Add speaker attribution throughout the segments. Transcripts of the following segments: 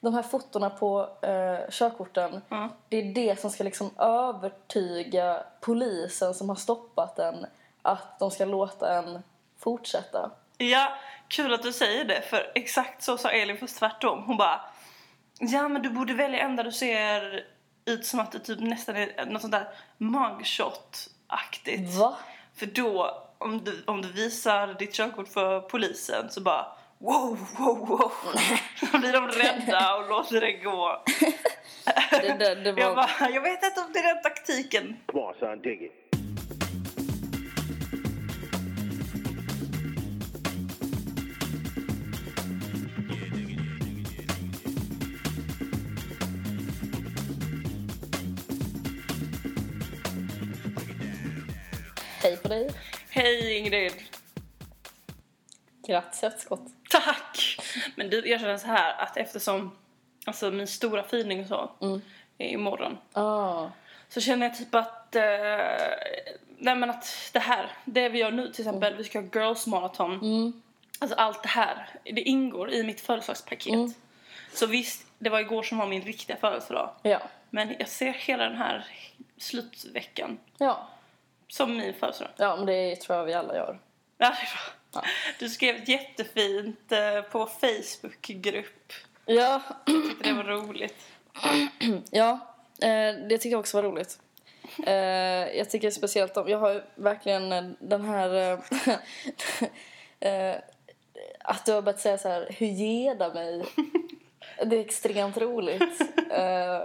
Speaker 1: de här fotona på eh, körkorten,
Speaker 2: Ja.
Speaker 1: det är det som ska liksom övertyga polisen som har stoppat en att de ska låta en fortsätta.
Speaker 2: Ja, kul att du säger det för exakt så sa Elin fast tvärtom. Hon bara Ja men du borde välja en där du ser ut som att du typ nästan är något sånt där mugshot-aktigt.
Speaker 1: Va?
Speaker 2: För då, om du, om du visar ditt körkort för polisen så bara wow, wow, wow. Då blir de rädda och låter det gå.
Speaker 1: Det, det, det
Speaker 2: Jag
Speaker 1: var...
Speaker 2: bara, jag vet inte om det är den taktiken.
Speaker 3: Come on, son, dig it.
Speaker 1: Hej på dig.
Speaker 2: Hej Ingrid.
Speaker 1: Grattis i efterskott.
Speaker 2: Tack! Men du, jag känner så här att eftersom alltså min stora firning och så är imorgon
Speaker 1: Ah.
Speaker 2: så känner jag typ att eh, nej men att det här, det vi gör nu till exempel, vi ska ha girls marathon. Alltså allt det här, det ingår i mitt födelsedagspaket. Så visst, det var igår som var min riktiga födelsedag.
Speaker 1: Ja.
Speaker 2: Men jag ser hela den här slutveckan
Speaker 1: ja.
Speaker 2: som min födelsedag.
Speaker 1: Ja, men det tror jag vi alla gör.
Speaker 2: Ja, det är bra. Du skrev ett jättefint eh, på Facebookgrupp.
Speaker 1: Ja,
Speaker 2: Det var roligt.
Speaker 1: ja eh, det tycker jag också var roligt. Eh, jag tycker speciellt om... Jag har ju verkligen eh, den här... Eh, eh, att du har börjat säga så här, hur ger det mig? Det är extremt roligt. Eh,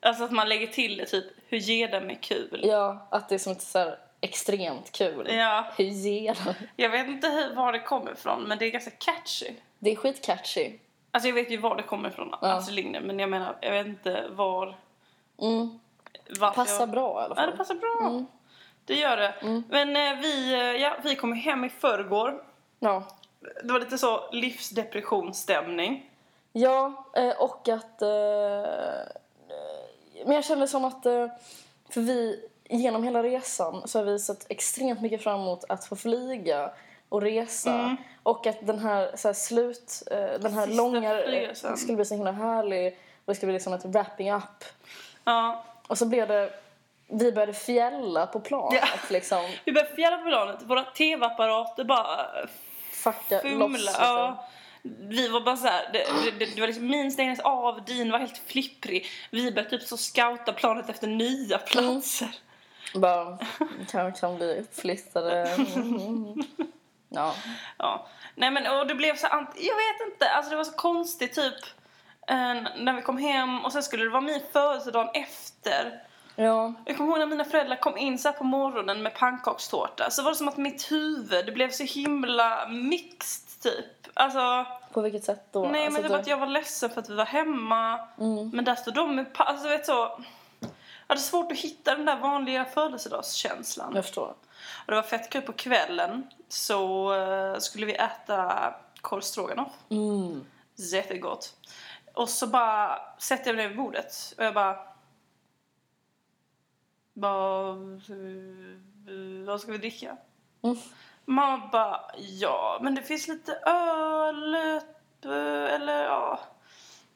Speaker 2: Alltså att man lägger till det typ, hur ger det mig kul?
Speaker 1: ja, att det är som ett så här extremt kul.
Speaker 2: Ja,
Speaker 1: Hur ger det mig?
Speaker 2: jag vet inte hur, var det kommer ifrån men det är ganska catchy.
Speaker 1: Det är skitcatchy.
Speaker 2: Alltså jag vet ju var det kommer ifrån, Astrid Lindgren, men jag menar jag vet inte var...
Speaker 1: Mm.
Speaker 2: varför
Speaker 1: Passar
Speaker 2: jag...
Speaker 1: bra i alla fall.
Speaker 2: Ja, det
Speaker 1: Mm.
Speaker 2: passar bra. Det gör det. Men eh, vi, eh, ja, vi kom hem i förrgår.
Speaker 1: Ja.
Speaker 2: Det var lite så livsdepressionsstämning.
Speaker 1: Ja, eh, och att... eh, eh, Men jag kände som att... eh, För vi, genom hela resan så har vi sett extremt mycket fram emot att få flyga och resa. Och att den här, så här slut... eh, Den här
Speaker 2: Mm. Sista
Speaker 1: långa...
Speaker 2: flygresan.
Speaker 1: skulle bli så himla härlig. Och det skulle bli liksom ett wrapping up.
Speaker 2: Ja,
Speaker 1: Och så blev det... Vi började fjälla på planet
Speaker 2: Ja.
Speaker 1: liksom.
Speaker 2: vi började fjärra på planet. Våra tv-apparater bara eh,
Speaker 1: Fucka loss.
Speaker 2: fumla.
Speaker 1: liksom.
Speaker 2: Ja. Vi var bara så här, det, det, det, det var liksom min stängdes av, din var helt flipprig. Vi började typ så scouta planet efter nya
Speaker 1: Mm.
Speaker 2: platser.
Speaker 1: Bara, kan, kan bli uppflyttade. Mm. Ja.
Speaker 2: Ja. Nej men och det blev så ant- jag vet inte, alltså det var så konstigt typ eh, när vi kom hem och sen skulle det vara min födelsedag efter.
Speaker 1: Ja.
Speaker 2: Jag kommer ihåg när mina föräldrar kom in så här på morgonen med pannkakstårta så var det som att mitt huvud det blev så himla mixed typ. Alltså
Speaker 1: På vilket sätt då?
Speaker 2: Nej
Speaker 1: Alltså Mm.
Speaker 2: men det
Speaker 1: du-
Speaker 2: var att jag var ledsen för att vi var hemma Men där stod de med pa- alltså vet så Jag hade svårt att hitta den där vanliga födelsedagskänslan
Speaker 1: jag förstår.
Speaker 2: Och det var fett kul på kvällen Så eh, skulle vi äta korv stroganoff
Speaker 1: Mm.
Speaker 2: Jättegott Och så bara sätter jag mig ner vid bordet Och jag bara Vad vad ska vi dricka?
Speaker 1: Mm.
Speaker 2: Mamma bara, ja, men det finns lite öl eh, eller ja,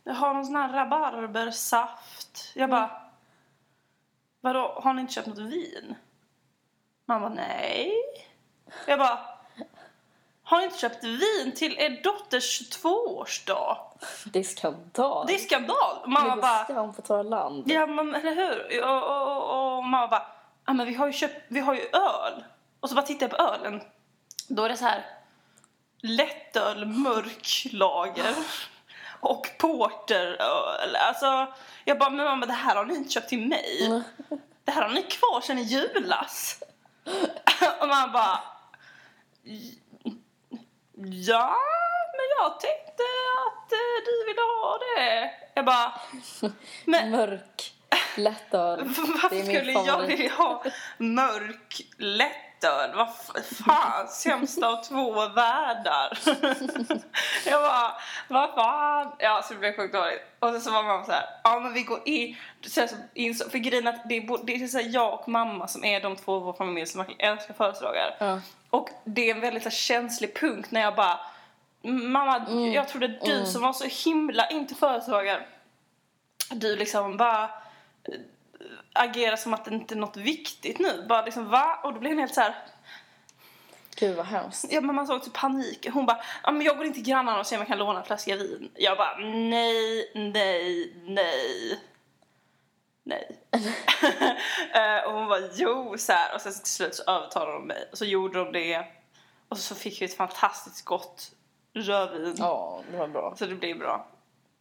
Speaker 2: jag har någon sån här rabarbersaft. Jag bara, vadå, har ni inte köpt något vin? Mamma, nej. Jag bara, har ni inte köpt vin till er dotters 22-årsdag?
Speaker 1: Det är skandal.
Speaker 2: Det är skandal! Mamma
Speaker 1: Ligger
Speaker 2: bara,
Speaker 1: skam på torra land.
Speaker 2: Ja, men eller hur? Och, och, och, och mamma bara, ja men vi har ju köpt, vi har ju öl. Och så bara tittar jag på ölen. Då är det så här lättöl, mörk lager och porteröl. Alltså, jag bara, men mamma det här har ni inte köpt till
Speaker 1: Mm.
Speaker 2: mig. Det här har ni kvar sen i julas. Och mamma bara, ja, men jag tänkte att eh, du ville ha det. Jag bara, men
Speaker 1: Mörk, lättöl.
Speaker 2: varför
Speaker 1: Det är min
Speaker 2: skulle jag
Speaker 1: favorit.
Speaker 2: vilja ha mörk lättöl? Vad f- fan, sämsta av två världar. jag bara, vad fan. Ja, så det blev sjukt dåligt. Och sen så var mamma så här, ja men vi går i, sen så insåg, för grejen är att det är, bo- det är så här, jag och mamma som är de två i vår familj som verkligen älskar födelsedagar.
Speaker 1: Ja.
Speaker 2: Och det är en väldigt så här, känslig punkt när jag bara Mamma,
Speaker 1: Mm.
Speaker 2: jag trodde du som var så himla, inte företagare. Du liksom bara eh, agerar som att det inte är något viktigt nu. Bara liksom va? Och då blev hon helt så här.
Speaker 1: Gud vad hemskt.
Speaker 2: Ja, men man såg till panik. Hon bara, ja, men jag går in till grannarna och ser om jag kan låna en flaska vin. Jag bara, nej, nej, nej. Nej. Eh, och hon bara, jo, så här. Och sen till slut så övertalade de mig. Och så gjorde de det. Och så fick vi ett fantastiskt gott rödvin.
Speaker 1: Ja, det var bra.
Speaker 2: Så det blev bra.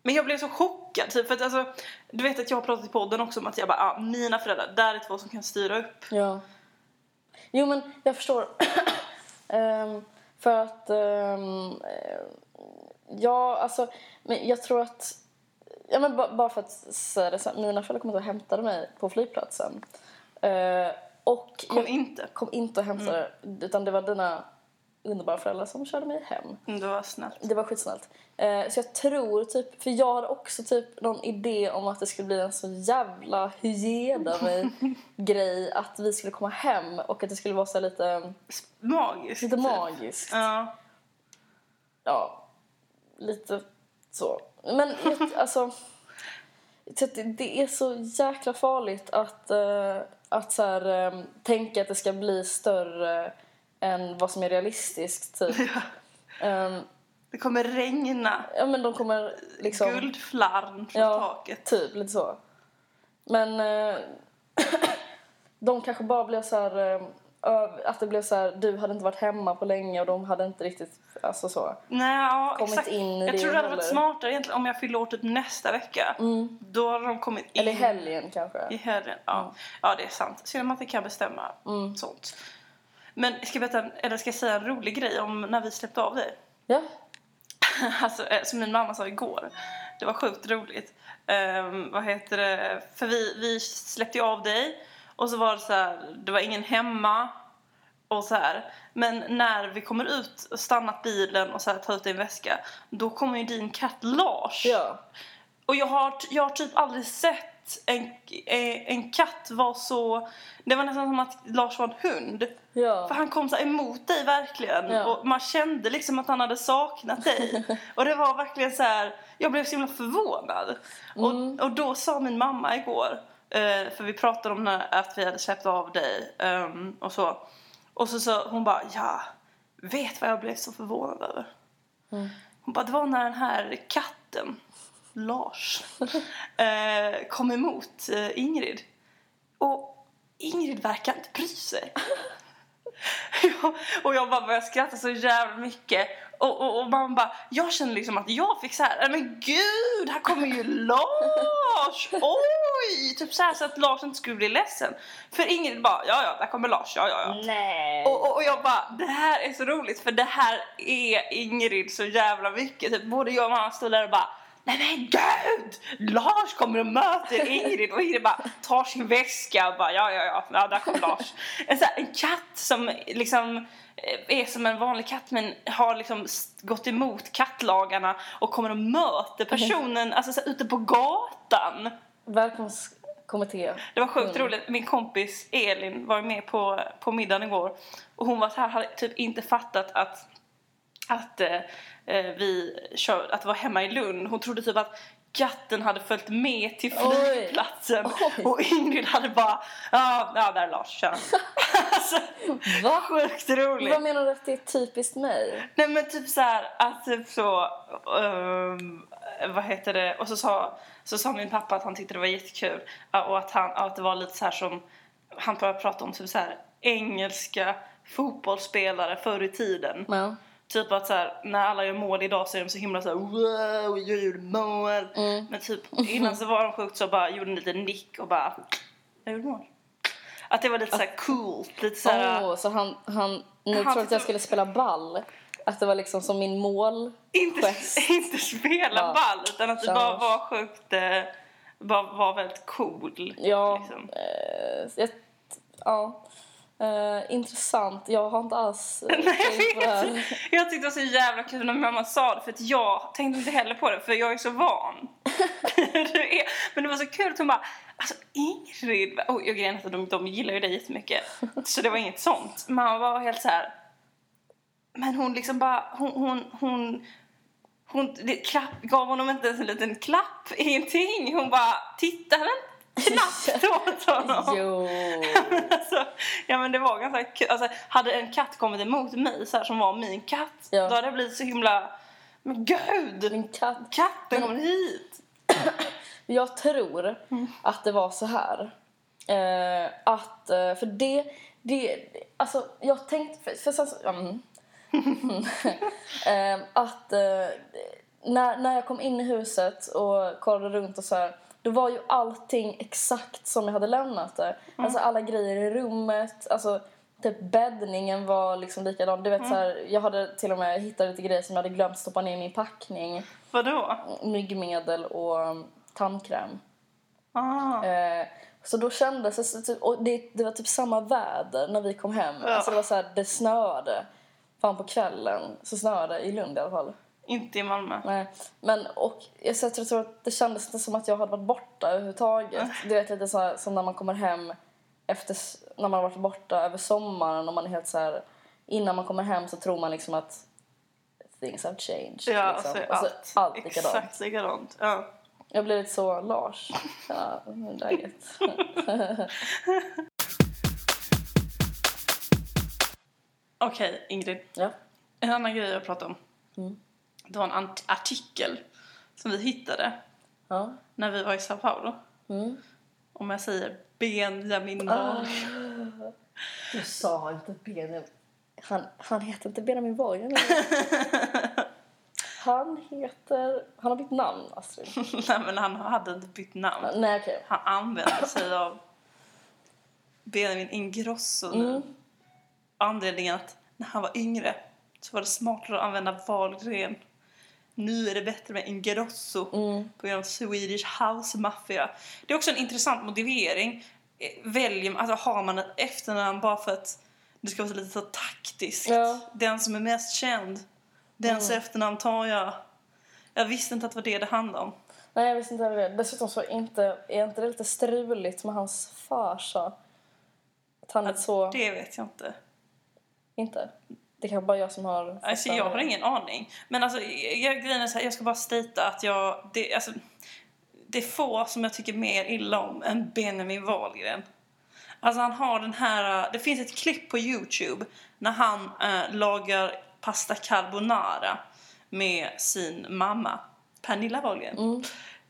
Speaker 2: Men jag blev så chockad. Typ, för att, alltså, du vet att jag har pratat i podden också om att jag bara, ah, mina föräldrar, där är två som kan styra upp.
Speaker 1: Ja. Jo, men jag förstår. Ehm, för att... ehm, eh, ja, alltså... Men jag tror att... Ja, men ba, bara för att säga det så här, Mina föräldrar kom inte och hämtade mig på flygplatsen. Eh, och
Speaker 2: Kom
Speaker 1: jag
Speaker 2: inte.
Speaker 1: kom inte och hämtade utan det var dina underbara föräldrar som körde mig hem.
Speaker 2: Mm, Det var snällt.
Speaker 1: Det var skitsnällt. Eh, så jag tror typ, för jag hade också typ någon idé om att det skulle bli en så jävla hygiena med grej att vi skulle komma hem och att det skulle vara så här lite,
Speaker 2: Magiskt.
Speaker 1: lite
Speaker 2: typ.
Speaker 1: magiskt.
Speaker 2: Ja.
Speaker 1: Ja, lite så. Men jag- alltså, jag tror att det, det är så jäkla farligt att, eh, att så här, eh, tänka att det ska bli större än vad som är realistiskt. Typ. Ehm,
Speaker 2: Det kommer regna
Speaker 1: ja men de kommer liksom...
Speaker 2: guldflarn från
Speaker 1: Ja.
Speaker 2: taket.
Speaker 1: Typ, lite så. Men eh, de kanske bara blev så här... eh, öv- att det blev så här, du hade inte varit hemma på länge och de hade inte riktigt, alltså så.
Speaker 2: Nej, ja,
Speaker 1: Kommit
Speaker 2: exakt.
Speaker 1: in i
Speaker 2: jag
Speaker 1: det
Speaker 2: tror det hade varit
Speaker 1: heller.
Speaker 2: smartare egentligen om jag fyllde år typ nästa vecka.
Speaker 1: Mm.
Speaker 2: Då hade de kommit in
Speaker 1: Eller i helgen kanske.
Speaker 2: i helgen. Ja.
Speaker 1: Mm.
Speaker 2: ja, det är sant. Synd att man inte kan bestämma
Speaker 1: Mm.
Speaker 2: sånt. Men ska jag, berätta, en- eller ska jag säga en rolig grej om när vi släppte av dig?
Speaker 1: Ja.
Speaker 2: alltså, eh, som min mamma sa igår. Det var sjukt roligt. Ehm, vad heter det? För vi, vi släppte ju av dig och så var det så här, det var ingen hemma och så här. Men när vi kommer ut och stannat bilen och så här, tar ut din väska, då kommer ju din katt Lars.
Speaker 1: Ja.
Speaker 2: Och jag har, t- jag har typ aldrig sett en, eh, en katt vara så... Det var nästan som att Lars var en hund. För
Speaker 1: Ja.
Speaker 2: han kom så här emot dig verkligen
Speaker 1: Ja.
Speaker 2: och man kände liksom att han hade saknat dig. och det var verkligen så här, jag blev så himla förvånad. Och, och då sa min mamma igår, eh, för vi pratade om när, att vi hade släppt av dig ehm, och så. Och så sa hon bara, ja, vet vad jag blev så förvånad över? Hon bara, det var när den här katten, Lars, eh, kom emot eh, Ingrid. Och Ingrid verkar inte bry sig. Ja, och jag bara började skratta så jävla mycket. Och, och, och man bara, jag känner liksom att jag fick så här, "Nej, men gud, här kommer ju Lars! Oj! Typ så här så att Lars inte skulle bli ledsen. För Ingrid bara, ja ja, där kommer Lars, ja ja ja.
Speaker 1: Nej.
Speaker 2: Och, och, och jag bara, det här är så roligt för det här är Ingrid så jävla mycket. Typ, både jag och mamma stod där och bara, nej men gud! Lars kommer och möter Ingrid och Ingrid bara tar sin väska och bara, ja ja ja, ja där kommer Lars. En, så här, en katt som liksom eh, är som en vanlig katt men har liksom s- gått emot kattlagarna och kommer och möter personen alltså, så här, ute på gatan.
Speaker 1: Välkomstkommitté.
Speaker 2: Det var sjukt
Speaker 1: Mm.
Speaker 2: roligt. Min kompis Elin var ju med på, på middagen igår. Och hon var så här, hade typ inte fattat att, att, eh, eh, vi kör, att det var hemma i Lund. Hon trodde typ att katten hade följt med till
Speaker 1: Oj.
Speaker 2: flygplatsen.
Speaker 1: Oj.
Speaker 2: Och Ingrid hade bara, ja, ja där är Lars, kör. alltså,
Speaker 1: Va?
Speaker 2: sjukt
Speaker 1: Vad
Speaker 2: roligt.
Speaker 1: menar du att det är typiskt mig?
Speaker 2: Nej men typ så här att typ så, ehm, vad heter det, och så sa, så sa min pappa att han tyckte det var jättekul ja, och att, han, att det var lite så här som, han började prata om typ så här engelska fotbollsspelare förr i tiden.
Speaker 1: Ja.
Speaker 2: Typ att så här, när alla gör mål idag så är de så himla så här wow, jag gjorde mål.
Speaker 1: Mm.
Speaker 2: Men typ innan så var de sjukt så bara gjorde en liten nick och bara, jag gjorde mål. Att det var lite så här coolt, lite så här,
Speaker 1: Åh, så han, han, ni
Speaker 2: Han
Speaker 1: trodde att
Speaker 2: tyckte-
Speaker 1: jag skulle spela ball? Att det var liksom som min mål?
Speaker 2: inte,
Speaker 1: Gest.
Speaker 2: inte spela
Speaker 1: Ja.
Speaker 2: ball utan att du
Speaker 1: Kör.
Speaker 2: bara var sjukt, eh, bara var väldigt cool.
Speaker 1: Ja.
Speaker 2: Liksom.
Speaker 1: Eh, jag, ja. Eh, intressant. Jag har inte alls eh,
Speaker 2: Nej,
Speaker 1: tänkt på det
Speaker 2: jag,
Speaker 1: här.
Speaker 2: vet. jag tyckte det var så jävla kul när min mamma sa det för att jag tänkte inte heller på det för jag är så van. det är, men det var så kul att hon bara Alltså Ingrid, oh, jag grejen är att de, de gillar ju dig jättemycket så det var inget sånt. Mamma var helt så här. Men hon liksom bara, hon, hon, hon, hon det, klapp, gav honom inte ens en liten klapp, ingenting. Hon bara tittade knappt åt honom.
Speaker 1: Jo.
Speaker 2: alltså, ja men det var ganska kul. Alltså, hade en katt kommit emot mig så här, som var min katt,
Speaker 1: Ja.
Speaker 2: då hade det blivit så himla, men gud!
Speaker 1: Min Mm. katt.
Speaker 2: Katten kommer hit!
Speaker 1: Jag tror att det var så här. Eh, att, eh, för det, det, alltså jag tänkte, för, för sen så, ja, mm. Eh, att eh, när, när jag kom in i huset och kollade runt och så här, då var ju allting exakt som jag hade lämnat det. Alltså alla grejer i rummet, alltså typ bäddningen var liksom likadan. Du vet så här, jag hade till och med hittat lite grejer som jag hade glömt stoppa ner i min packning.
Speaker 2: Vadå?
Speaker 1: Myggmedel och um, tandkräm.
Speaker 2: Ah.
Speaker 1: Eh, så då kändes det, så typ, och det, det var typ samma väder när vi kom hem.
Speaker 2: Ja.
Speaker 1: Alltså det var så här, det snöade. Fan på kvällen så snöade det, i Lund i alla fall.
Speaker 2: Inte i Malmö.
Speaker 1: Nej. Men och jag, så jag tror- tror att det kändes inte som att jag hade varit borta överhuvudtaget. Du vet lite så här, som när man kommer hem efter, s- när man har varit borta över sommaren och man är helt så här, innan man kommer hem så tror man liksom att things have changed.
Speaker 2: Ja,
Speaker 1: liksom.
Speaker 2: alltså,
Speaker 1: och så
Speaker 2: allt.
Speaker 1: allt likadant.
Speaker 2: Exakt likadant. Ja.
Speaker 1: Jag blev lite så Lars. Ja, hur är läget?
Speaker 2: Okej, Ingrid.
Speaker 1: Ja.
Speaker 2: En annan grej jag pratade om.
Speaker 1: Mm.
Speaker 2: Det var en ant- artikel som vi hittade
Speaker 1: Ja.
Speaker 2: när vi var i Sao Paulo.
Speaker 1: Mm. Ah.
Speaker 2: Om jag säger Benjamin Wahlgren.
Speaker 1: Du sa inte Benjamin. Han, han heter inte Benjamin Borgen. Han heter... Han har bytt namn, Astrid.
Speaker 2: Nej, men han hade inte bytt namn.
Speaker 1: Nej, okej.
Speaker 2: Han använde sig av Benjamin Ingrosso nu.
Speaker 1: Mm.
Speaker 2: Anledningen att när han var yngre så var det smartare att använda Wahlgren. Nu är det bättre med Ingrosso.
Speaker 1: Mm.
Speaker 2: på grund av Swedish House Mafia. Det är också en intressant motivering. Eh, Väljer, alltså har man ett efternamn bara för att det ska vara lite så taktiskt.
Speaker 1: Ja. Mm.
Speaker 2: Den som är mest känd, dens efternamn tar jag. Jag visste inte att det var det det handlade om.
Speaker 1: Nej, jag visste inte heller det. Dessutom så är inte, är inte det lite struligt med hans farsa? Att han är så...
Speaker 2: Det vet jag inte.
Speaker 1: Inte? Det kanske bara jag som har...
Speaker 2: Alltså, jag har ingen aning. Men alltså, jag, grejen är så här, jag ska bara statea att jag... Det, alltså, det är få som jag tycker mer illa om än Benjamin Wahlgren. Alltså han har den här... eh, Det finns ett klipp på Youtube när han eh, lagar pasta carbonara med sin mamma, Pernilla Wahlgren.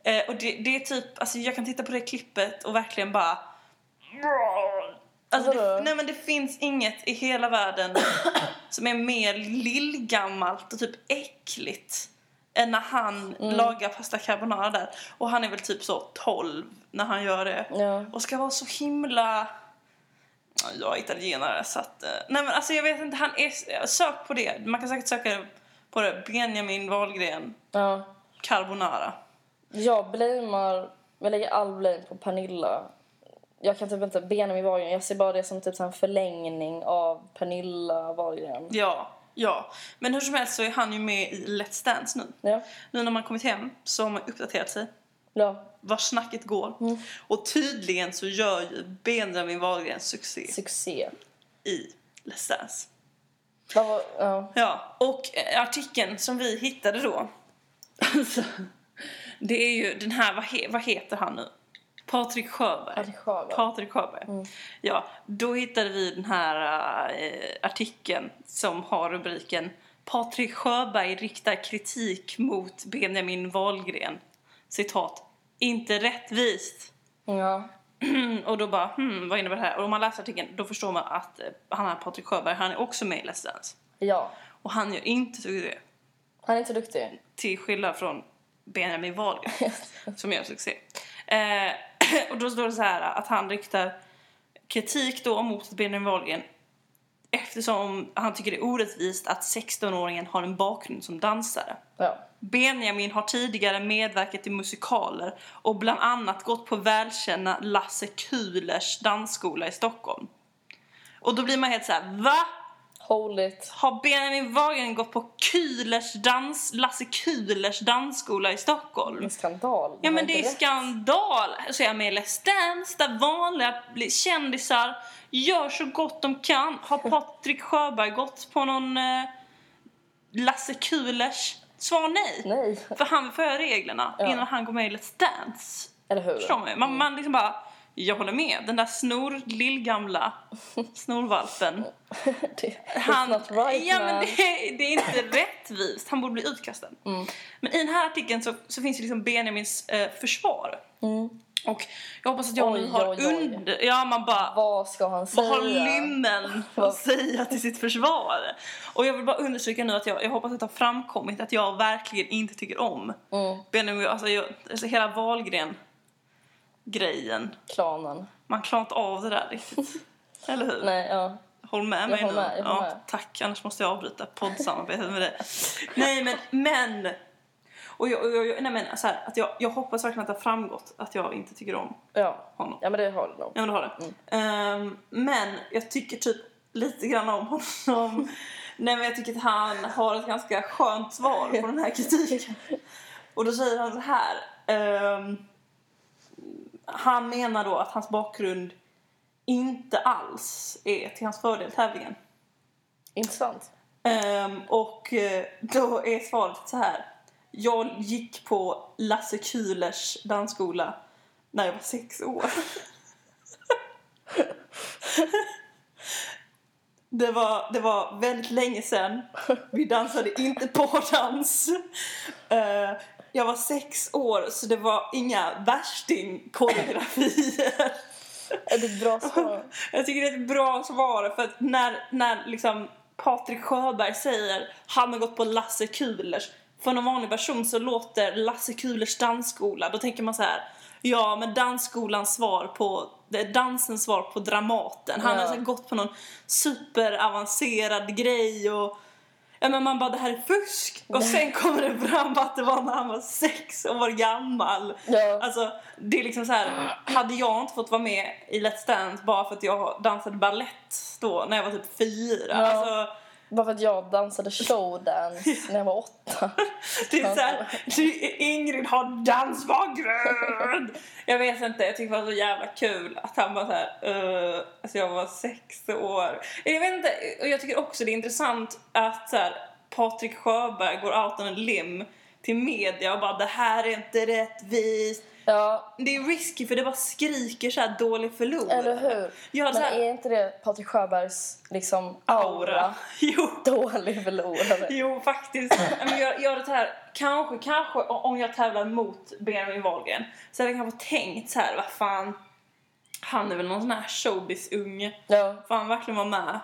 Speaker 2: Eh, och det, det är typ... Alltså jag kan titta på det klippet och verkligen bara... Alltså det,
Speaker 1: Vadå?
Speaker 2: nej men det finns inget i hela världen som är mer lillgammalt och typ äckligt än när han lagar pasta carbonara där. Och han är väl typ så 12 när han gör det.
Speaker 1: Ja.
Speaker 2: Och ska vara så himla... Ja, Jag är italienare så att... eh, Nej men alltså jag vet inte, han är... Sök på det. Man kan säkert söka på det. Benjamin Wahlgren
Speaker 1: Ja.
Speaker 2: carbonara.
Speaker 1: Jag blamear, jag lägger all blame på Pernilla. Jag kan typ inte Benjamin Wahlgren, jag ser bara det som typ så här en förlängning av Pernilla Wahlgren.
Speaker 2: Ja, ja. Men hur som helst så är han ju med i Let's Dance nu.
Speaker 1: Ja,
Speaker 2: Nu när man kommit hem så har man uppdaterat sig.
Speaker 1: ja
Speaker 2: Var snacket går.
Speaker 1: Mm.
Speaker 2: Och tydligen så gör ju Benjamin Wahlgren succé
Speaker 1: succé.
Speaker 2: i Let's Dance.
Speaker 1: Vad var, ja.
Speaker 2: Ja, och eh, artikeln som vi hittade då. Alltså, det är ju den här, vad, he, vad heter han nu? Patrik Sjöberg.
Speaker 1: Patrik Sjöberg. Mm.
Speaker 2: Patrik Sjöberg. Ja, då hittade vi den här eh, artikeln som har rubriken Patrik Sjöberg riktar kritik mot Benjamin Wahlgren. Citat. Inte rättvist.
Speaker 1: ja.
Speaker 2: Och då bara, hmm, vad innebär det här? Och om man läser artikeln, då förstår man att eh, han här Patrik Sjöberg, han är också med i Let's Dance.
Speaker 1: Ja.
Speaker 2: Och han gör inte succé.
Speaker 1: Han är inte duktig.
Speaker 2: Till skillnad från Benjamin Wahlgren som gör succé. Eh, och då står det så här att han riktar kritik då mot Benjamin Wahlgren eftersom han tycker det är orättvist att 16-åringen har en bakgrund som dansare.
Speaker 1: Ja.
Speaker 2: Benjamin har tidigare medverkat i musikaler och bland annat gått på välkända Lasse Kühlers dansskola i Stockholm. Och då blir man helt så här, va?
Speaker 1: Hold it.
Speaker 2: Har Benjamin Wahlgren gått på Kühlers dans, Lasse Kühlers dansskola i
Speaker 1: En
Speaker 2: Stockholm?
Speaker 1: skandal.
Speaker 2: Ja men
Speaker 1: inte
Speaker 2: det är
Speaker 1: rätt.
Speaker 2: skandal! Så jag är med i Let's Dance där vanliga bli- kändisar gör så gott de kan. Har Patrik Sjöberg gått på någon eh, Lasse Kulers svar nej.
Speaker 1: Nej,
Speaker 2: För han vill föra reglerna
Speaker 1: Ja.
Speaker 2: innan han går med i Let's Dance.
Speaker 1: eller hur?
Speaker 2: Förstår mig? Man, man liksom bara, jag håller med. Den där snor, lillgamla snorvalpen.
Speaker 1: Det- it's
Speaker 2: Han,
Speaker 1: not right
Speaker 2: ja,
Speaker 1: man. Mm.
Speaker 2: men det, är- det är inte rättvist. Han borde bli utkastad. Men i den här artikeln så, så finns ju liksom Benjamins eh, försvar.
Speaker 1: Mm.
Speaker 2: Och jag hoppas att jag
Speaker 1: Oj,
Speaker 2: nu har
Speaker 1: oj, oj.
Speaker 2: under... Ja, man bara...
Speaker 1: Vad ska han säga?
Speaker 2: Vad har lymmen att säga till sitt försvar? Och jag vill bara understryka nu att jag, jag hoppas att det har framkommit att jag verkligen inte tycker om
Speaker 1: Mm,
Speaker 2: Benjamin, alltså, jag, alltså hela Wahlgren-grejen.
Speaker 1: klanen.
Speaker 2: Man klarar inte av det där riktigt. Eller hur?
Speaker 1: Nej, ja.
Speaker 2: Håll med mig
Speaker 1: håller
Speaker 2: nu.
Speaker 1: med, jag håller
Speaker 2: ja,
Speaker 1: med.
Speaker 2: Tack, annars måste jag avbryta poddsamarbetet med dig. Nej, men... men och jag, och jag, jag- nej, men så här, att jag, jag hoppas verkligen att det har framgått att jag inte tycker om
Speaker 1: Ja,
Speaker 2: honom.
Speaker 1: ja men det har det nog.
Speaker 2: Ja men det har det. Ehm, men jag tycker typ lite grann om honom. Nej men jag tycker att han har ett ganska skönt svar på den här kritiken. Och då säger han så här. ehm, han menar då att hans bakgrund inte alls är till hans fördel i tävlingen.
Speaker 1: Intressant.
Speaker 2: Ehm, och eh, då är svaret så här. Jag gick på Lasse Kühlers dansskola när jag var sex år. Det var, det var väldigt länge sedan. Vi dansade inte på dans. Eh, jag var sex år så det var inga värstingkoreografier.
Speaker 1: Är det ett bra svar?
Speaker 2: Jag tycker det är ett bra svar för att när, när liksom Patrik Sjöberg säger han har gått på Lasse Kulers för någon vanlig person så låter Lasse Kulers dansskola, då tänker man så här ja men dansskolans svar på det är dansens svar på Dramaten. Han
Speaker 1: Ja.
Speaker 2: har så här gått på någon superavancerad grej och ja, men man bara det här är fusk och sen kommer det fram att det var när han var sex år gammal.
Speaker 1: Ja.
Speaker 2: Alltså, det är liksom så här, hade jag inte fått vara med i Let's Dance bara för att jag dansade ballett då när jag var typ fyra.
Speaker 1: Ja.
Speaker 2: Alltså,
Speaker 1: Bara för att jag dansade showdance när jag var åtta.
Speaker 2: det är så här, du- Ingrid har dansbakgrund! Jag vet inte, jag tycker det var så jävla kul att han bara så här, "Eh, alltså jag var sex år. Jag vet inte, och jag tycker också det är intressant att så här, Patrik Sjöberg går out on a limb till media och bara det här är inte rättvist.
Speaker 1: Ja,
Speaker 2: Det är risky för det bara skriker så här dålig förlorare.
Speaker 1: eller hur?
Speaker 2: Jag
Speaker 1: Men
Speaker 2: hade så här,
Speaker 1: är inte det Patrik Sjöbergs liksom
Speaker 2: aura.
Speaker 1: aura?
Speaker 2: Jo.
Speaker 1: Dålig förlorare.
Speaker 2: Jo, faktiskt. Men jag, jag hade så här, kanske, kanske o- om jag tävlar mot Benjamin Wahlgren så hade jag kanske tänkt så här, vad fan, han är väl någon sån här showbiz-unge.
Speaker 1: Ja,
Speaker 2: Får han verkligen vara med?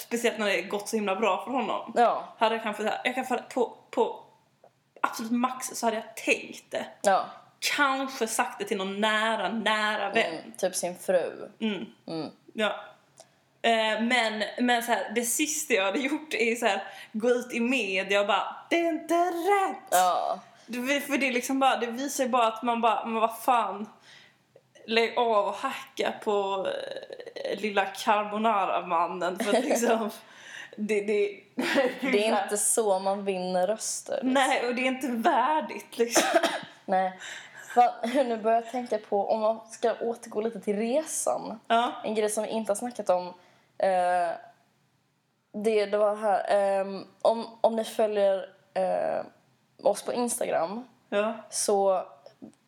Speaker 2: Speciellt när det gått så himla bra för honom.
Speaker 1: ja,
Speaker 2: Hade jag kanske, så här, jag kanske hade- på, på absolut max så hade jag tänkt det.
Speaker 1: ja.
Speaker 2: Kanske sagt det till någon nära, nära vän.
Speaker 1: Mm, typ sin fru.
Speaker 2: Mm.
Speaker 1: Mm.
Speaker 2: Ja. Eh, men men så här, det sista jag hade gjort är så här, gå ut i media och bara det är inte rätt.
Speaker 1: Ja,
Speaker 2: Det, för det, är liksom bara, det visar ju bara att man bara, men vad fan. Lägg av och hacka på eh, lilla carbonara-mannen för att liksom. det, det,
Speaker 1: det är inte så man vinner röster.
Speaker 2: Nej, och det är inte värdigt liksom.
Speaker 1: Nej. Va, nu börjar jag tänka på, om man ska återgå lite till resan.
Speaker 2: Ja.
Speaker 1: En grej som vi inte har snackat om. Eh, det, det var här. ehm, om, om ni följer eh, oss på Instagram
Speaker 2: Ja.
Speaker 1: så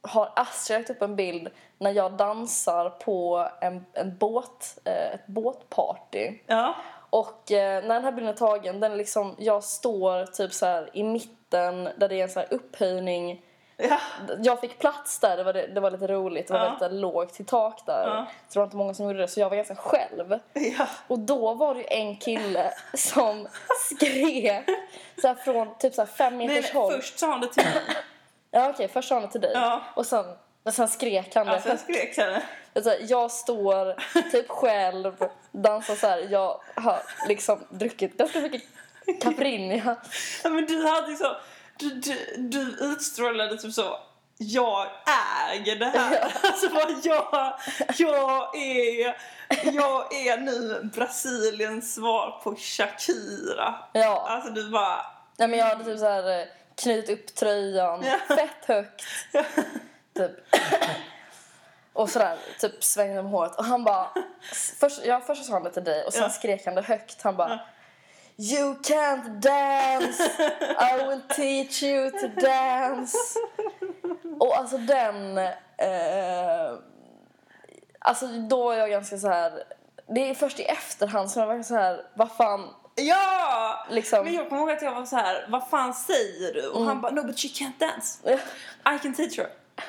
Speaker 1: har Astrid lagt upp en bild när jag dansar på en, en båt, eh, ett båtparty.
Speaker 2: Ja.
Speaker 1: Och eh, när den här bilden är tagen, den är liksom, jag står typ så här i mitten där det är en så här upphöjning.
Speaker 2: Ja.
Speaker 1: Jag fick plats där, det var, det, det var lite roligt, det var
Speaker 2: Ja.
Speaker 1: väldigt så här lågt i tak där.
Speaker 2: Ja.
Speaker 1: Så det var inte många som gjorde det, så jag var ganska själv.
Speaker 2: Ja.
Speaker 1: Och då var det ju en kille som skrek så här från typ så här fem
Speaker 2: Nej,
Speaker 1: meters
Speaker 2: nej,
Speaker 1: håll.
Speaker 2: först sa han det till mig.
Speaker 1: Ja okej, först sa han det till dig.
Speaker 2: Ja.
Speaker 1: Och sen, men sen skrek han det.
Speaker 2: Alltså jag skrek så här.
Speaker 1: Alltså, jag står typ själv, dansar så här. Jag har liksom druckit ganska mycket Caprinia.
Speaker 2: Ja, men du hade ju så... Du, du, du utstrålade typ så... Jag äger det här. Alltså vad jag... Jag är... Jag är nu Brasiliens svar på Shakira.
Speaker 1: Ja,
Speaker 2: Alltså du bara...
Speaker 1: nej, men jag hade typ så här eh, knutit upp tröjan
Speaker 2: Ja.
Speaker 1: fett högt. Typ. Och sådär, typ svängde om håret. Och han bara... Först, ja, först sa han det till dig och sen
Speaker 2: Ja.
Speaker 1: skrek han det högt. Han bara... You can't dance, I will teach you to dance. Och alltså den... Eh, alltså då är jag ganska så här... Det är först i efterhand som jag verkligen så här, vad fan,
Speaker 2: Ja!
Speaker 1: liksom.
Speaker 2: Men jag kommer ihåg att jag var så här, vad fan säger du? Och han bara, no but she can't dance. I can teach her.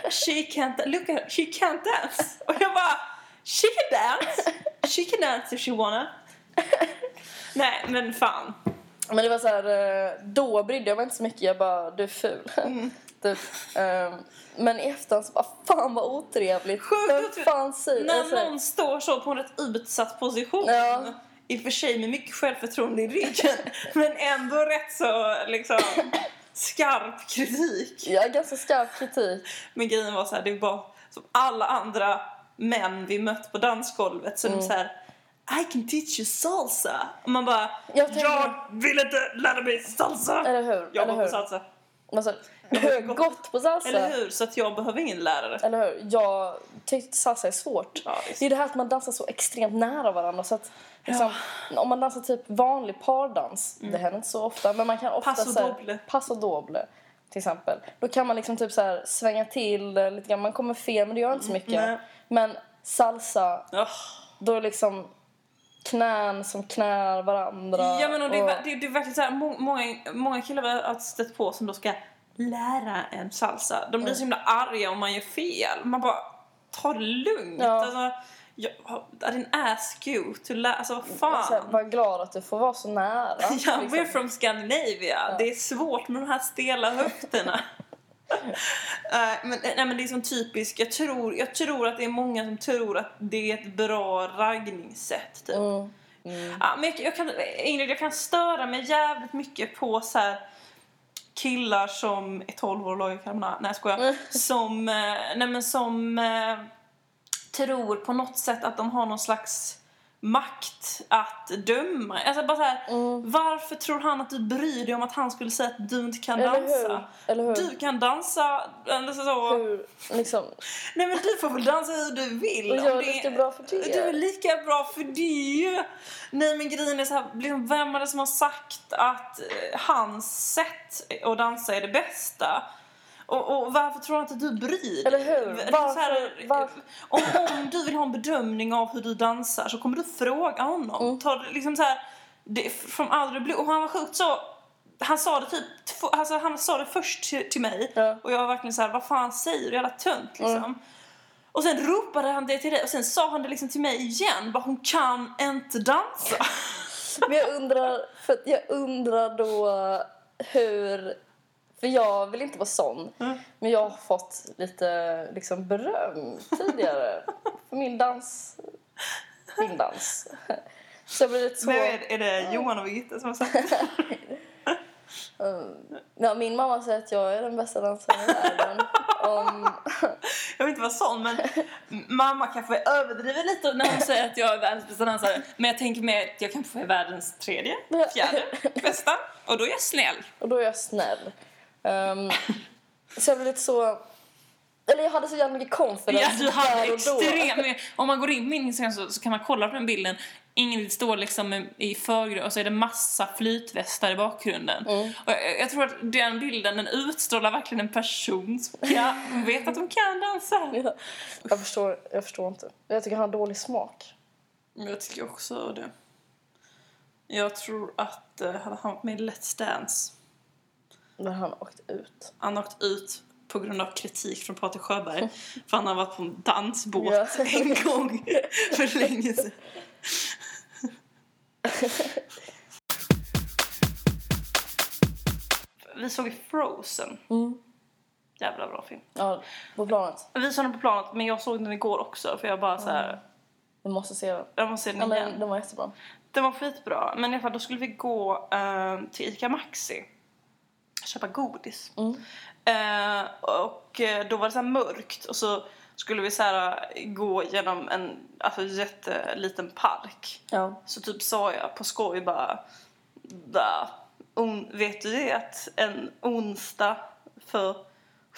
Speaker 2: She can't, da- look at her, she can't dance. Och jag bara, she can dance. She can dance if she wanna. Nej men fan.
Speaker 1: Men det var så här, eh, då brydde jag mig inte så mycket. Jag bara, du är ful.
Speaker 2: Mm.
Speaker 1: typ. Ehm, men i efterhand så bara, fan vad otrevligt.
Speaker 2: Sjukt
Speaker 1: Vem
Speaker 2: otrevligt.
Speaker 1: fan säger jag så
Speaker 2: När
Speaker 1: här?
Speaker 2: någon står så på en rätt utsatt position.
Speaker 1: Alltså- Ja.
Speaker 2: I och för sig med mycket självförtroende i ryggen. men ändå rätt så liksom skarp kritik.
Speaker 1: Jag har ganska skarp kritik.
Speaker 2: Men grejen var så här, det var som alla andra män vi mött på dansgolvet. Så
Speaker 1: Mm.
Speaker 2: de så här, I can teach you salsa. Och man bara,
Speaker 1: Jag
Speaker 2: jag,
Speaker 1: tänker-
Speaker 2: vill inte lära mig salsa.
Speaker 1: Eller hur?
Speaker 2: Jag
Speaker 1: eller
Speaker 2: går på
Speaker 1: hur?
Speaker 2: salsa.
Speaker 1: Man sa, "Hur gott på salsa.
Speaker 2: Eller hur? Så att jag behöver ingen lärare.
Speaker 1: Eller hur? Jag tyckte salsa är svårt.
Speaker 2: Ja,
Speaker 1: Det är det här att man dansar så extremt nära varandra. Så att, liksom, Om man dansar typ vanlig pardans, det händer inte så ofta, men man kan ofta
Speaker 2: Mm. Passo
Speaker 1: så här-
Speaker 2: doble.
Speaker 1: Passo doble till exempel. Då kan man liksom typ så här svänga till eh, lite grann. Man kommer fel, men det gör inte så mycket.
Speaker 2: Mm, nej.
Speaker 1: Men salsa,
Speaker 2: Åh.
Speaker 1: då är liksom knän som knär varandra.
Speaker 2: Ja men och det, är, ver- det, det är verkligen så här, må- många, många killar vi har stött på som då ska lära en salsa. De
Speaker 1: Mm.
Speaker 2: blir så himla arga om man gör fel. Man bara, ta det lugnt.
Speaker 1: Ja.
Speaker 2: Alltså, jag, I didn't ask you to lära, alltså vad fan.
Speaker 1: så här, var glad att du får vara så nära.
Speaker 2: Ja,
Speaker 1: liksom.
Speaker 2: we're from Scandinavia. Det är svårt med de här stela höfterna. Eh, men, nej, men det är som typiskt. Jag tror, jag tror att det är många som tror att det är ett bra raggningssätt. Typ.
Speaker 1: Mm.
Speaker 2: Ja, men jag, jag kan, Ingrid, jag kan störa mig jävligt mycket på så här killar som är 12 år och lagar carbonara. Nej, jag
Speaker 1: Mm.
Speaker 2: skojar. Som, eh, nej, men som eh, tror på något sätt att de har någon slags makt att döma. Alltså bara så här,
Speaker 1: Mm.
Speaker 2: varför tror han att du bryr dig om att han skulle säga att du inte kan
Speaker 1: Eller hur?
Speaker 2: dansa?
Speaker 1: Eller hur?
Speaker 2: Du kan dansa, eller så, så.
Speaker 1: hur liksom,
Speaker 2: Nej men du får väl dansa hur du vill.
Speaker 1: och
Speaker 2: om
Speaker 1: jag är
Speaker 2: det är-
Speaker 1: lika bra för det.
Speaker 2: du är lika bra för det. Nej men grejen är så här, liksom, vem är det som har sagt att eh, hans sätt att dansa är det bästa? Och, och varför tror han inte att du bryr dig?
Speaker 1: Eller hur?
Speaker 2: V-
Speaker 1: Varför-
Speaker 2: så här,
Speaker 1: varför-
Speaker 2: Om, om du vill ha en bedömning av hur du dansar så kommer du fråga honom.
Speaker 1: Mm.
Speaker 2: Ta det liksom så här, det, from aldrig bli. Och han var sjukt så... Han sa det typ, två- alltså han sa det först till, till mig
Speaker 1: Ja.
Speaker 2: och jag var verkligen så här, vad fan säger du? Jävla tönt
Speaker 1: Mm.
Speaker 2: liksom. Och sen ropade han det till dig och sen sa han det liksom till mig igen. Bara hon kan inte dansa.
Speaker 1: Men jag undrar, för att jag undrar då hur... För jag vill inte vara sån,
Speaker 2: Mm.
Speaker 1: men jag har fått lite liksom, beröm tidigare för min dans. Min dans. Så jag blir lite så...
Speaker 2: Men är, är det Johan och Birgitta som har sagt det?
Speaker 1: Mm. Ja, min mamma säger att jag är den bästa dansaren i världen. Om,
Speaker 2: Jag vill inte vara sån men mamma kanske överdriver lite när hon säger att jag är världens bästa dansare. Men jag tänker mer att jag kanske är världens tredje, fjärde bästa. Och då är jag snäll.
Speaker 1: Och då är jag snäll. Ehm, så jag blev lite så... Eller jag hade så jävla mycket confidence
Speaker 2: Ja, du hade
Speaker 1: där och då.
Speaker 2: extremt Om man går in på min Instagram så, så kan man kolla på den bilden. Ingrid står liksom i- i förgrunden och så är det massa flytvästar i bakgrunden. Och jag, jag tror att den bilden den utstrålar verkligen en person som kan, hon vet att hon kan dansa.
Speaker 1: Ja. Jag förstår, jag förstår inte. Jag tycker han har dålig smak.
Speaker 2: Men jag tycker också det. Jag tror att eh, hade han varit med i Let's Dance,
Speaker 1: När han har åkt ut.
Speaker 2: han har åkt ut på grund av kritik från Patrik Sjöberg för han har varit på en dansbåt
Speaker 1: Mm. Ja.
Speaker 2: en gång för länge sedan. Vi såg ju Frozen.
Speaker 1: Mm.
Speaker 2: Jävla bra film.
Speaker 1: Ja, på planet.
Speaker 2: Vi såg den på planet, men jag såg den igår också för jag bara så här,
Speaker 1: Vi måste se den.
Speaker 2: jag måste se
Speaker 1: Mm. Ja,
Speaker 2: den igen.
Speaker 1: men den var jättebra.
Speaker 2: Den var skitbra. Men i alla fall, då skulle vi gå eh, till Ica Maxi. Köpa godis.
Speaker 1: Mm.
Speaker 2: Eh, och eh, då var det så här mörkt. Och så skulle vi så här, eh, gå genom en alltså, jätteliten park.
Speaker 1: Ja.
Speaker 2: Så typ sa jag på skoj bara... "Va, on, vet du det att en onsdag för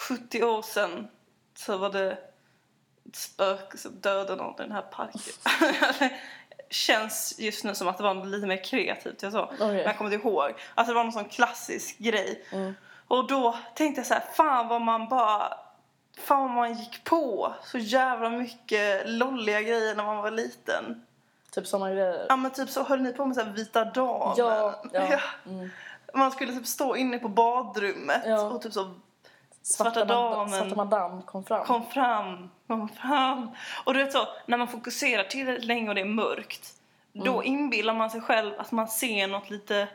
Speaker 2: 70 år sedan så var det ett spöke som dödade någon i den här parken. känns just nu som att det var något lite mer kreativt jag sa.
Speaker 1: Okej.
Speaker 2: Men jag kommer inte ihåg. Alltså det var någon sån klassisk grej. Och då tänkte jag så här, fan vad man bara... Fan vad man gick på så jävla mycket lolliga grejer när man var liten.
Speaker 1: Typ såna grejer.
Speaker 2: Ja men typ så höll ni på med så här vita damen.
Speaker 1: Ja, ja. Mm.
Speaker 2: Man skulle typ stå inne på badrummet
Speaker 1: Ja.
Speaker 2: och typ så
Speaker 1: Svarta,
Speaker 2: Svarta
Speaker 1: madam-
Speaker 2: damen.
Speaker 1: Svarta madam kom fram.
Speaker 2: kom fram, kom fram. Och du vet så, när man fokuserar tillräckligt länge och det är mörkt, då
Speaker 1: Mm.
Speaker 2: inbillar man sig själv att man ser något lite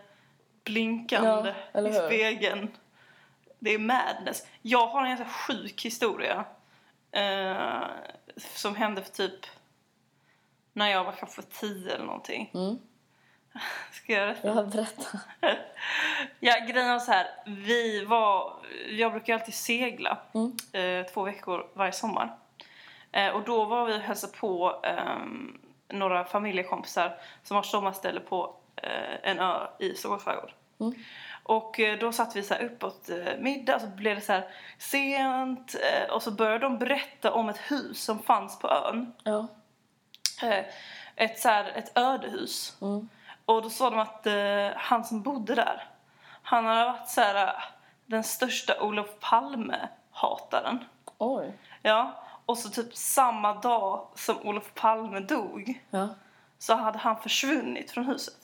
Speaker 2: blinkande
Speaker 1: Ja, eller
Speaker 2: i
Speaker 1: hur?
Speaker 2: spegeln. Det är madness. Jag har en ganska sjuk historia eh, som hände för typ när jag var kanske tio eller någonting.
Speaker 1: Mm.
Speaker 2: Ska jag berätta?
Speaker 1: Ja, berätta.
Speaker 2: Ja, grejen var så här. Vi var, jag brukar ju alltid segla
Speaker 1: Mm.
Speaker 2: eh, två veckor varje sommar. Eh, och då var vi och hälsade på ehm, några familjekompisar som har sommarställe på eh, en ö i Stockholms skärgård.
Speaker 1: Mm.
Speaker 2: Och eh, då satt vi så här uppåt eh, middag så blev det så här sent eh, och så började de berätta om ett hus som fanns på ön.
Speaker 1: Ja.
Speaker 2: Eh, ett, så här, ett ödehus.
Speaker 1: Mm.
Speaker 2: Och då sa de att eh, han som bodde där, han hade varit så här, eh, den största Olof Palme-hataren.
Speaker 1: Oj.
Speaker 2: Ja, och så typ samma dag som Olof Palme dog
Speaker 1: Ja.
Speaker 2: så hade han försvunnit från huset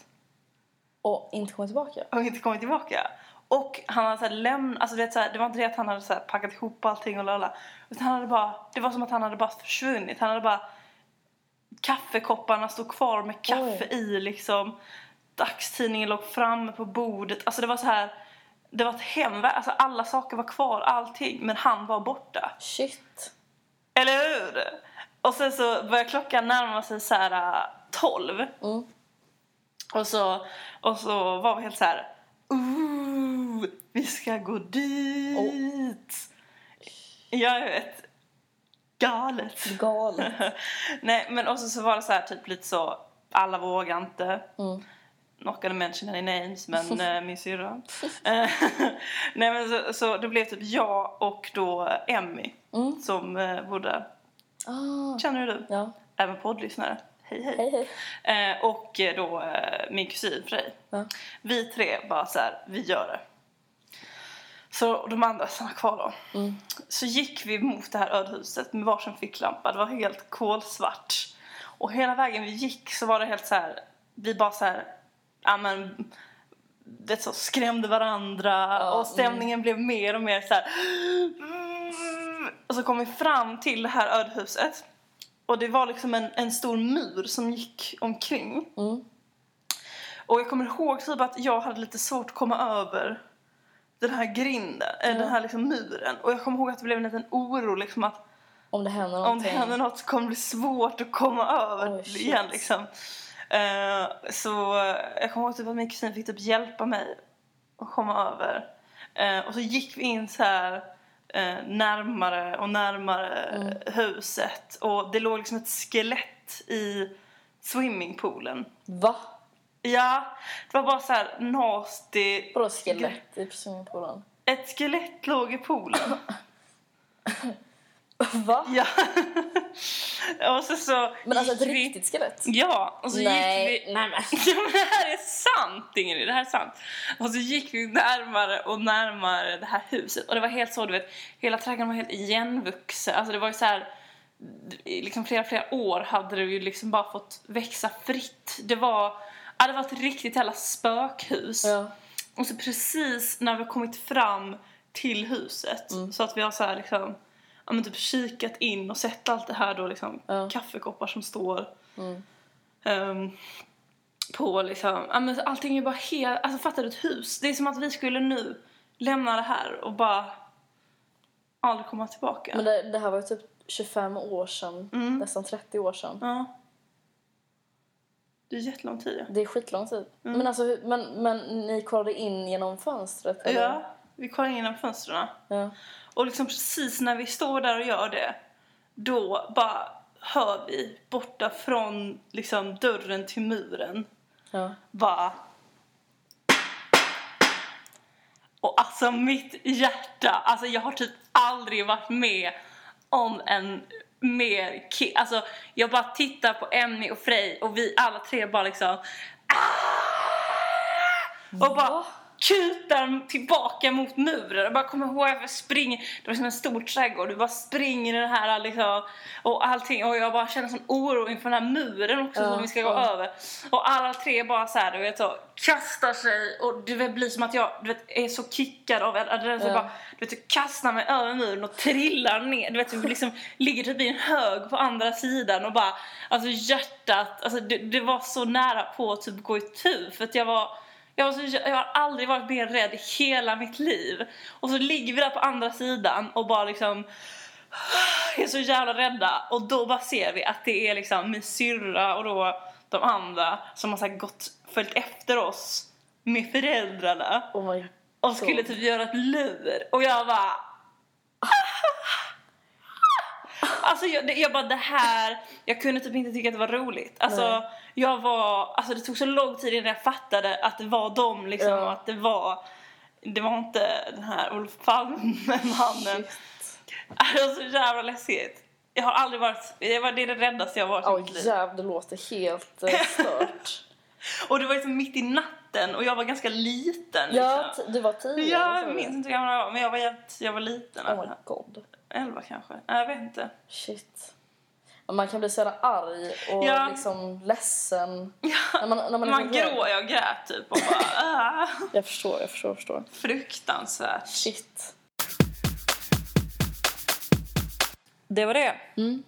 Speaker 1: Och inte kommit tillbaka.
Speaker 2: och inte kommit tillbaka. Och han hade så här lämnat, alltså du vet så här, det var inte det att han hade så här packat ihop allting och lala. Utan han hade bara, det var som att han hade bara försvunnit. Han hade bara, kaffekopparna stod kvar med kaffe i liksom. Dagstidningen låg framme på bordet. Alltså det var så här, det var ett hem, alltså alla saker var kvar, allting. Men han var borta.
Speaker 1: Shit.
Speaker 2: Eller hur? Och sen så börjar klockan närma sig så här äh, 12.
Speaker 1: Mm.
Speaker 2: Och så, och så var vi helt så här... Ooh, vi ska gå dit!
Speaker 1: Oh.
Speaker 2: Jag vet. Galet.
Speaker 1: Galet.
Speaker 2: Nej, men och så, så var det så här typ lite så... Alla vågar inte.
Speaker 1: Mm.
Speaker 2: Not gonna mention any names, men eh, min syrra. Eh, Nej, men så, så det blev typ jag och då Emmy
Speaker 1: Mm.
Speaker 2: som eh, bodde där.
Speaker 1: Ah.
Speaker 2: Känner du?
Speaker 1: Ja.
Speaker 2: Även poddlyssnare. Hej, hej.
Speaker 1: Hej, hej.
Speaker 2: Eh, och eh, då eh, min kusin Frej.
Speaker 1: Ja.
Speaker 2: Vi tre bara så här, vi gör det. Så de andra stannade kvar då.
Speaker 1: Mm.
Speaker 2: Så gick vi mot det här ödhuset med varsin ficklampa. Det var helt kolsvart. Och hela vägen vi gick så var det helt så här, vi bara så här, ja men det så skrämde varandra
Speaker 1: Ja, mm.
Speaker 2: och stämningen blev mer och mer så här. Och så kom vi fram till det här ödhuset. Och det var liksom en, en stor mur som gick omkring.
Speaker 1: Mm.
Speaker 2: Och jag kommer ihåg typ att jag hade lite svårt att komma över den här grinden, eller den här liksom muren. Och jag kommer ihåg att det blev en liten oro liksom att
Speaker 1: Om det händer
Speaker 2: om det
Speaker 1: någonting.
Speaker 2: händer något så kommer det bli svårt att komma över
Speaker 1: Oj, shit.
Speaker 2: igen liksom. Eh, så eh, jag kommer ihåg typ att min kusin fick typ hjälpa mig att komma över. Eh, och så gick vi in så här eh, närmare och närmare
Speaker 1: Mm.
Speaker 2: huset och det låg liksom ett skelett i swimmingpoolen.
Speaker 1: Va?
Speaker 2: Ja, det var bara så här nasty.
Speaker 1: Vadå skelett i swimmingpoolen?
Speaker 2: Ett skelett låg i poolen.
Speaker 1: Va?
Speaker 2: ja. och så så
Speaker 1: Men alltså ett
Speaker 2: gick vi-
Speaker 1: riktigt skelett?
Speaker 2: Ja, och så gick vi...
Speaker 1: Nej. Nej, men.
Speaker 2: Ja, men det här är sant, Ingrid. Det här är sant. Och så gick vi närmare och närmare det här huset. Och det var helt så, du vet, hela trädgården var helt igenvuxen. Alltså det var ju så här, i liksom flera, flera år hade det ju liksom bara fått växa fritt. Det var, ja, det var ett riktigt jävla spökhus.
Speaker 1: Ja.
Speaker 2: Och så precis när vi har kommit fram till huset
Speaker 1: Mm.
Speaker 2: så att vi har så här liksom ja men typ kikat in och sett allt det här då liksom
Speaker 1: Ja.
Speaker 2: kaffekoppar som står
Speaker 1: Mm.
Speaker 2: ehm, på liksom ja men allting är bara helt alltså fattar du ett hus det är som att vi skulle nu lämna det här och bara aldrig komma tillbaka.
Speaker 1: Men det, det här var ju typ 25 år sedan.
Speaker 2: Mm.
Speaker 1: Nästan 30 år sedan.
Speaker 2: Ja. Det är jättelång tid.
Speaker 1: Det är skitlång tid.
Speaker 2: Mm.
Speaker 1: Men, alltså, hur- men, men ni kollade in genom fönstret?
Speaker 2: Ja.
Speaker 1: Eller?
Speaker 2: ja, vi kollar in genom fönstren.
Speaker 1: ja.
Speaker 2: Och liksom precis när vi står där och gör det, då bara hör vi borta från liksom dörren till muren
Speaker 1: Ja.
Speaker 2: bara... Och alltså mitt hjärta, alltså jag har typ aldrig varit med om en mer ki- Alltså jag bara tittar på Emmy och Frej och vi alla tre bara liksom "Ah!" och bara
Speaker 1: Va?
Speaker 2: kutar tillbaka mot muren. Jag bara kommer ihåg att jag springer, det var som en stor trädgård, du bara springer i den här liksom och allting och jag bara känner sån oro inför den här muren också
Speaker 1: Ja,
Speaker 2: som vi ska gå
Speaker 1: ja.
Speaker 2: över. Och alla tre bara så här, du vet så kastar sig och du vet blir som att jag du vet, är så kickad av adrenalin så
Speaker 1: Ja.
Speaker 2: jag bara du vet, jag kastar mig över muren och trillar ner. Du vet, jag liksom ligger typ i en hög på andra sidan och bara, alltså hjärtat, alltså det, det var så nära på att typ gå itu för att jag var jag, var så, jag har aldrig varit mer rädd i hela mitt liv. Och så ligger vi där på andra sidan och bara liksom är så jävla rädda och då bara ser vi att det är liksom min syrra och då de andra som har så här gått, följt efter oss med föräldrarna
Speaker 1: Oh my
Speaker 2: och skulle typ göra ett lur och jag bara Alltså jag, det- jag bara det här, jag kunde typ inte tycka att det var roligt. Alltså
Speaker 1: Nej.
Speaker 2: jag var, alltså det tog så lång tid innan jag fattade att det var dem liksom
Speaker 1: Ja.
Speaker 2: och att det var det var inte den här Olof Palme-mannen.
Speaker 1: Shit.
Speaker 2: Alltså, Det var så jävla läskigt. Jag har aldrig varit, det var det, är det räddaste jag har varit i
Speaker 1: Åh
Speaker 2: mitt liv.
Speaker 1: jävlar, det låter helt eh, stört.
Speaker 2: Och det var liksom mitt i natten och jag var ganska liten
Speaker 1: ja,
Speaker 2: liksom.
Speaker 1: t- du var tio. vad sa
Speaker 2: Jag
Speaker 1: du?
Speaker 2: minns inte hur gammal jag var men jag var, jävligt- jag var liten.
Speaker 1: Oh my god.
Speaker 2: Elva kanske? Nej, jag vet inte.
Speaker 1: Shit. Ja, Man kan bli så jävla arg och
Speaker 2: Ja.
Speaker 1: liksom ledsen.
Speaker 2: Ja.
Speaker 1: När man, när man, är
Speaker 2: Man
Speaker 1: så rädd.
Speaker 2: grå, jag grät typ och bara ah,
Speaker 1: Jag förstår, jag förstår, jag förstår.
Speaker 2: fruktansvärt.
Speaker 1: Shit.
Speaker 2: Det var det.
Speaker 1: Mm.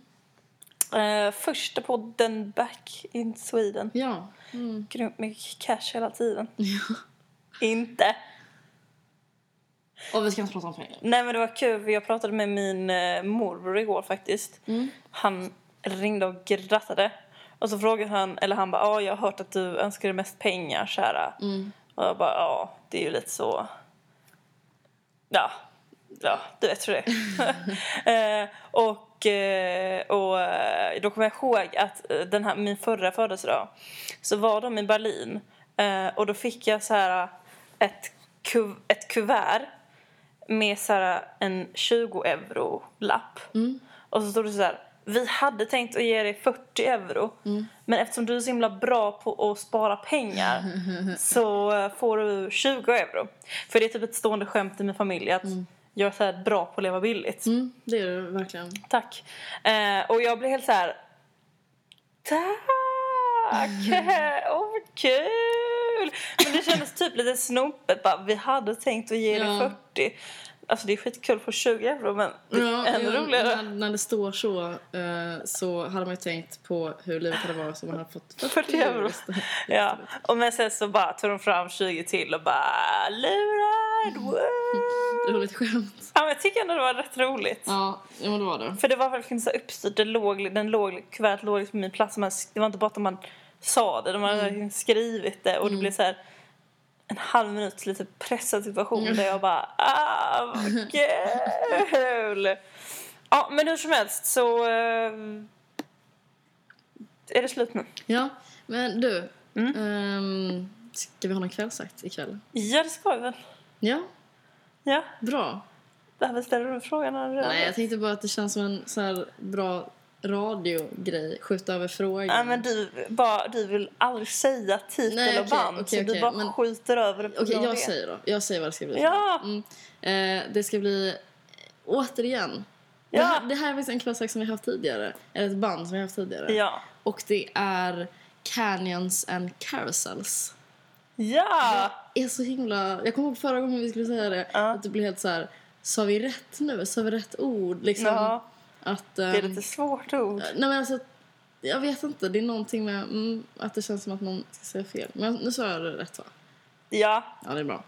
Speaker 2: Eh, första podden back in Sweden.
Speaker 1: Ja.
Speaker 2: Grymt mycket cash hela tiden. Inte.
Speaker 1: Och vi ska inte prata om pengar.
Speaker 2: Nej men det var kul, för jag pratade med min eh, morbror igår faktiskt. Han ringde och grattade. Och så frågade han, eller han bara, ja jag har hört att du önskar dig mest pengar kära. Och jag bara, ja det är ju lite så. Ja, ja du vet hur det är. eh, och, eh, och eh, då kommer jag ihåg att eh, den här, min förra födelsedag så var de i Berlin. Eh, och då fick jag så här eh, ett, ku- ett kuvert med så här, en 20 euro lapp. Och så stod det så här. Vi hade tänkt att ge dig 40 euro. Men eftersom du är så himla bra på att spara pengar så eh, får du 20 euro. För det är typ ett stående skämt i min familj att jag är så här bra på att leva billigt.
Speaker 1: Mm, det är det verkligen.
Speaker 2: Tack. Eh, och jag blev helt så här. Tack! Åh, vad kul! Men det kändes typ lite snopet. Bara, vi hade tänkt att ge dig
Speaker 1: Ja.
Speaker 2: 40. Alltså det är skitkul för 20 euro men det är ännu roligare.
Speaker 3: När, när det står så eh, så hade man ju tänkt på hur livet hade varit om man hade fått
Speaker 2: 40 euro.
Speaker 3: istället.
Speaker 2: Ja. Och men sen så bara tog de fram 20 till och bara lurad! Woo!
Speaker 3: Roligt skämt.
Speaker 2: Ja, men jag tycker ändå det var rätt roligt.
Speaker 3: Ja, ja men det var det.
Speaker 2: För det var verkligen inte så uppstyrt. Det låg, den låg, kuvertet låg liksom på min plats. Man, det var inte bara att man sa det, de
Speaker 3: Mm.
Speaker 2: hade verkligen skrivit det. Och det blev så här en halv minut lite pressad situation
Speaker 3: Mm.
Speaker 2: där jag bara ah vad kul! ja men hur som helst så eh, är det slut nu.
Speaker 3: Ja, men du.
Speaker 2: Mm.
Speaker 3: ehm, ska vi ha någon kvällsakt ikväll?
Speaker 2: Ja det ska vi väl.
Speaker 3: Ja,
Speaker 2: Ja,
Speaker 3: bra.
Speaker 2: varför ställer du frågan? här redan?
Speaker 3: Nej, jag tänkte bara att det känns som en så här bra radiogrej. Skjuta över frågan.
Speaker 2: Nej men du, bara, du vill aldrig säga titel
Speaker 3: Nej,
Speaker 2: och
Speaker 3: okej,
Speaker 2: band
Speaker 3: okej,
Speaker 2: så du
Speaker 3: okej,
Speaker 2: bara
Speaker 3: men-
Speaker 2: skjuter över det på
Speaker 3: Okej,
Speaker 2: grund av
Speaker 3: jag
Speaker 2: det.
Speaker 3: säger då. Jag säger vad det ska bli.
Speaker 2: Ja.
Speaker 3: Mm. Eh, det ska bli, återigen.
Speaker 2: Ja.
Speaker 3: Det, här, det här är faktiskt en klassiker som vi har haft tidigare. Eller ett band som vi har haft tidigare.
Speaker 2: Ja.
Speaker 3: Och det är Canyons and Carousels.
Speaker 2: Ja!
Speaker 3: Det är så himla... Jag kommer ihåg förra gången vi skulle säga det.
Speaker 2: Ja.
Speaker 3: Att det blev helt så här... Sa vi rätt nu? Sa vi rätt ord? Liksom,
Speaker 2: Ja,
Speaker 3: att,
Speaker 2: det är
Speaker 3: ehm,
Speaker 2: lite svårt ord.
Speaker 3: Nej men alltså, jag vet inte. Det är någonting med mm, att det känns som att någon ska säga fel. Men nu sa jag det rätt va?
Speaker 2: Ja.
Speaker 3: Ja, det är bra.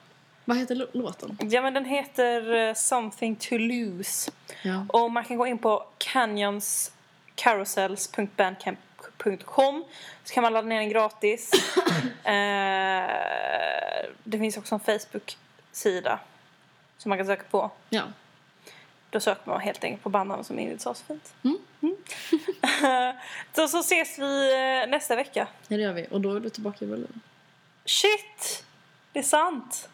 Speaker 3: Vad heter lå- låten?
Speaker 2: ja, men den heter eh, Something to lose.
Speaker 3: Ja.
Speaker 2: Och man kan gå in på canyonscarousels.bandcamp.com så kan man ladda ner den gratis. eh, det finns också en Facebook-sida som man kan söka på.
Speaker 3: ja.
Speaker 2: Då söker man helt enkelt på bandnamn som Ingrid sa så fint.
Speaker 3: Mm.
Speaker 2: Mm. så, så ses vi eh, nästa vecka.
Speaker 3: Ja, det gör vi. Och då är du tillbaka i Berlin.
Speaker 2: Shit! Det är sant.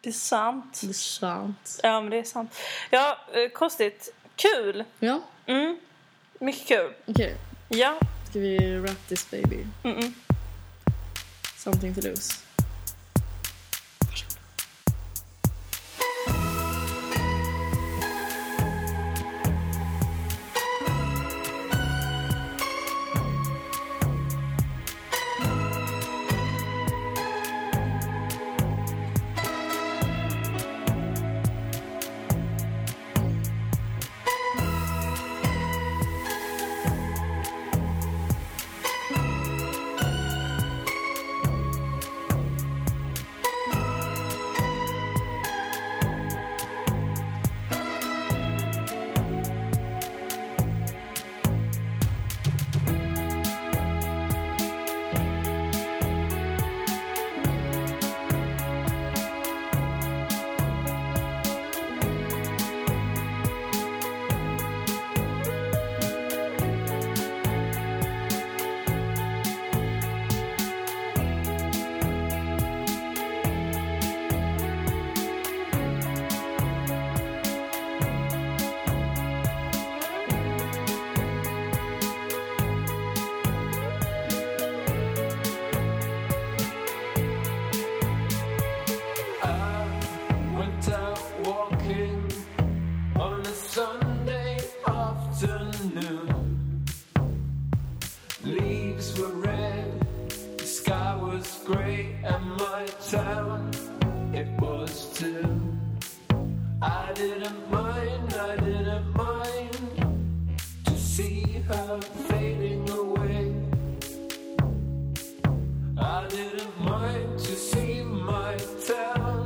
Speaker 2: Det är sant.
Speaker 3: Det är sant.
Speaker 2: Ja, men det är sant. Ja, eh, konstigt. Kul!
Speaker 3: Ja,
Speaker 2: Mm. Mycket kul.
Speaker 3: okej.
Speaker 2: Ja.
Speaker 3: Ska vi wrap this baby?
Speaker 2: Mm -mm.
Speaker 3: Something to lose.
Speaker 4: went out walking on a Sunday afternoon. Leaves were red, the sky was grey, and my town it was too. I didn't mind, I didn't mind to see her fading away. I didn't mind to see my town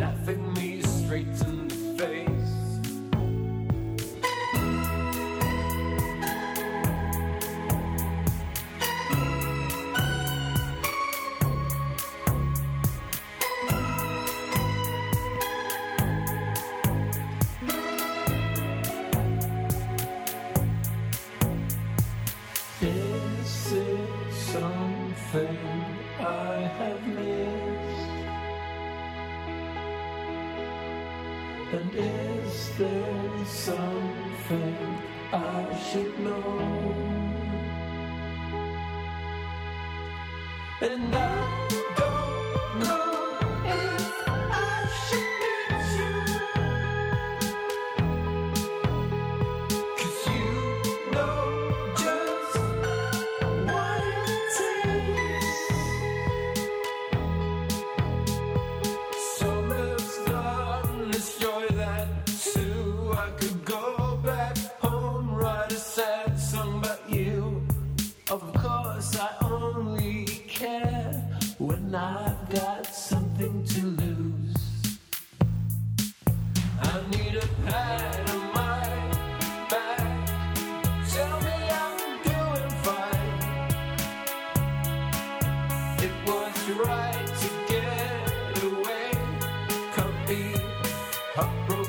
Speaker 4: laughing me straight in the face. This is something I have missed. And is there something I should know? And I don't know if I should miss you. Cause you know just what it takes. Summer's gone, it's joy that too. I could go back home, write a sad song about you. Of course, I only care when I've got something to lose. I need a pad on my back. Tell me I'm doing fine. It was right to get away. Can't be heartbroken.